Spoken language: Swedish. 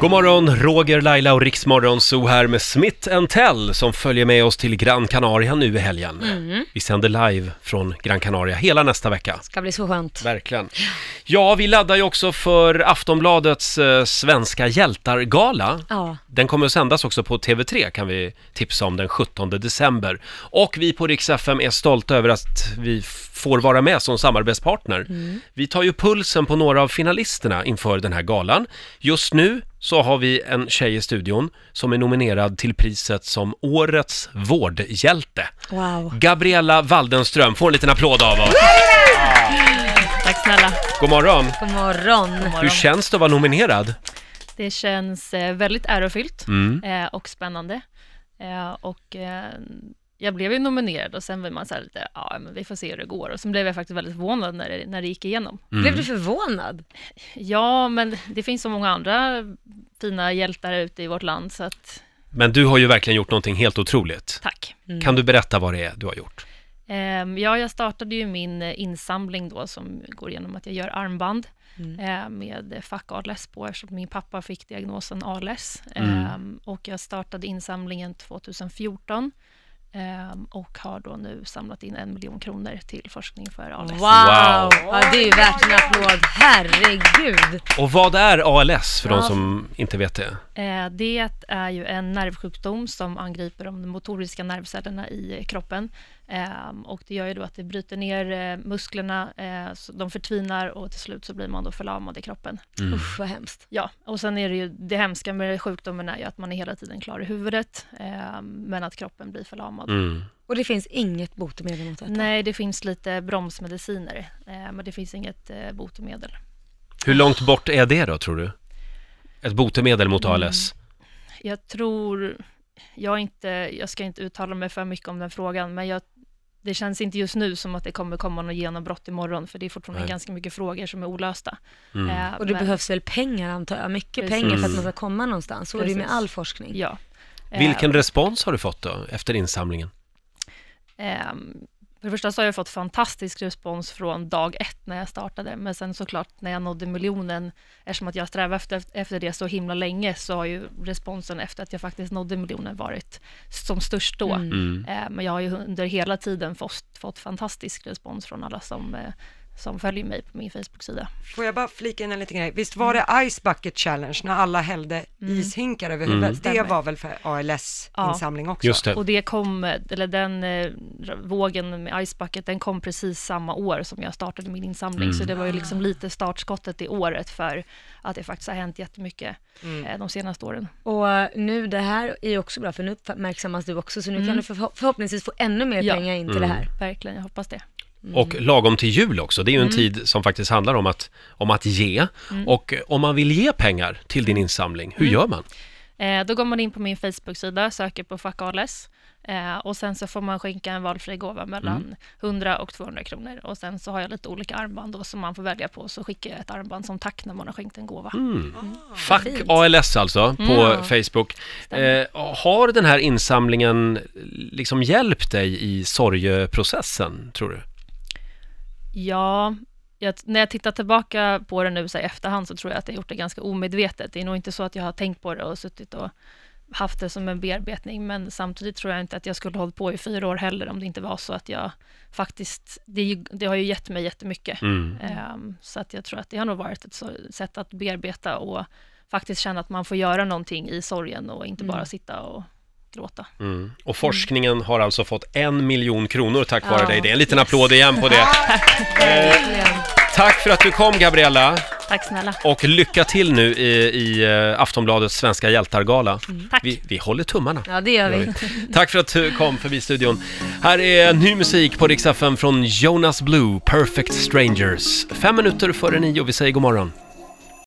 God morgon, Roger, Laila och Riksmorgon Zoo här med Smith Tell som följer med oss till Gran Canaria nu i helgen. Vi sänder live från Gran Canaria hela nästa vecka. ska bli så skönt. Verkligen. Ja, vi laddar ju också för Aftonbladets eh, Svenska hjältar-gala. Ja. Den kommer att sändas också på TV3 kan vi tipsa om den 17 december. Och vi på Rix FM är stolta över att vi f- får vara med som samarbetspartner. Vi tar ju pulsen på några av finalisterna inför den här galan. Just nu så har vi en tjej i studion som är nominerad till priset som Årets vårdhjälte. Wow. Gabriella Waldenström får en liten applåd av oss. Tack snälla. God morgon! God morgon. Hur känns det att vara nominerad? Mm. Det känns eh, väldigt ärofyllt eh, och spännande. Eh, och eh, jag blev ju nominerad och sen var man så här lite, ja men vi får se hur det går. Och sen blev jag faktiskt väldigt förvånad när det, när det gick igenom. Blev du förvånad? Ja, men det finns så många andra fina hjältar ute i vårt land, så att Men du har ju verkligen gjort någonting helt otroligt. tack. Kan du berätta vad det är du har gjort? Ehm, Ja, jag startade ju min eh, insamling då som går genom att jag gör armband eh, med eh, fack-ALS på eftersom min pappa fick diagnosen ALS. Ehm, Och jag startade insamlingen 2014 ehm, och har då nu samlat in en miljon kronor till forskning för ALS. Wow! Ja, det är ju värt en applåd. Herregud! Och vad är ALS för de som inte vet det? Eh, Det är ju en nervsjukdom som angriper de motoriska nervcellerna i kroppen. Ehm, Och det gör ju då att det bryter ner eh, musklerna, eh, så de förtvinar och till slut så blir man då förlamad i kroppen. Usch, vad hemskt. Ja, och sen är det ju det hemska med sjukdomen är ju att man är hela tiden klar i huvudet, ehm, men att kroppen blir förlamad. Mm. Och det finns inget botemedel mot detta? Nej, det finns lite bromsmediciner, eh, men det finns inget eh, botemedel. Hur långt bort är det då, tror du? Ett botemedel mot Mm. ALS? Jag tror, jag, är inte, jag ska inte uttala mig för mycket om den frågan, men jag, det känns inte just nu som att det kommer komma något genombrott imorgon, för det är fortfarande Nej. ganska mycket frågor som är olösta. Mm. Eh, Och det men- behövs väl pengar antar jag? Mycket Precis. pengar för att man ska komma någonstans. Så är det ju med Precis. all forskning. Ja. Eh, Vilken respons har du fått då, efter insamlingen? Ehm, För det första så har jag fått fantastisk respons från dag ett när jag startade, men sen såklart när jag nådde miljonen, eftersom att jag strävade efter, efter det så himla länge, så har ju responsen efter att jag faktiskt nådde miljonen varit som störst då. Eh, Men jag har ju under hela tiden fått, fått fantastisk respons från alla som, eh, som följer mig på min Facebook-sida. Får jag bara flika in en liten grej? Visst var det Ice Bucket Challenge när alla hällde ishinkar över huvudet? Det Stämmer. var väl för ALS-insamling också? Just det. Och det kom, eller den eh, vågen med Ice Bucket, den kom precis samma år som jag startade min insamling. Så det var ju liksom lite startskottet i året för att det faktiskt har hänt jättemycket eh, de senaste åren. Och eh, nu det här är ju också bra för nu uppmärksammas du också så nu kan du förho- förhoppningsvis få ännu mer Mm. Ja. pengar in till det här. Verkligen, jag hoppas det. Och lagom till jul också. Det är ju en Mm. tid som faktiskt handlar om att, om att ge. Och eh, om man vill ge pengar till din insamling, Mm. hur gör man? Eh, då går man in på min Facebook-sida, söker på Fuck ALS eh, och sen så får man skänka en valfri gåva mellan 100 och 200 kronor. Och sen så har jag lite olika armband då som man får välja på, så skickar jag ett armband som tack när man har skänkt en gåva. Fuck ALS alltså, på Facebook. Eh, har den här insamlingen liksom hjälpt dig i sorgeprocessen, tror du? Ja, jag, när jag tittar tillbaka på det nu så här, i efterhand så tror jag att jag gjort det ganska omedvetet. Det är nog inte så att jag har tänkt på det och suttit och haft det som en bearbetning, men samtidigt tror jag inte att jag skulle hållit på i fyra år heller om det inte var så att jag faktiskt, det, är ju- det har ju gett mig jättemycket. Mm. Ehm, så att jag tror att det har nog varit ett så, sätt att bearbeta och faktiskt känna att man får göra någonting i sorgen och inte bara sitta och gråta. Mm. Och forskningen har alltså fått en miljon kronor tack vare dig. Det är en liten applåd igen på det. Verkligen. Tack för att du kom Gabriella Tack snälla. och lycka till nu i, i eh, Aftonbladets Svenska hjältargala. Tack. Vi, vi håller tummarna. Mm. Ja, det gör vi. Tack för att du kom förbi studion. Här är ny musik på Rix FM från Jonas Blue, Perfect Strangers. Fem minuter före nio, vi säger god morgon.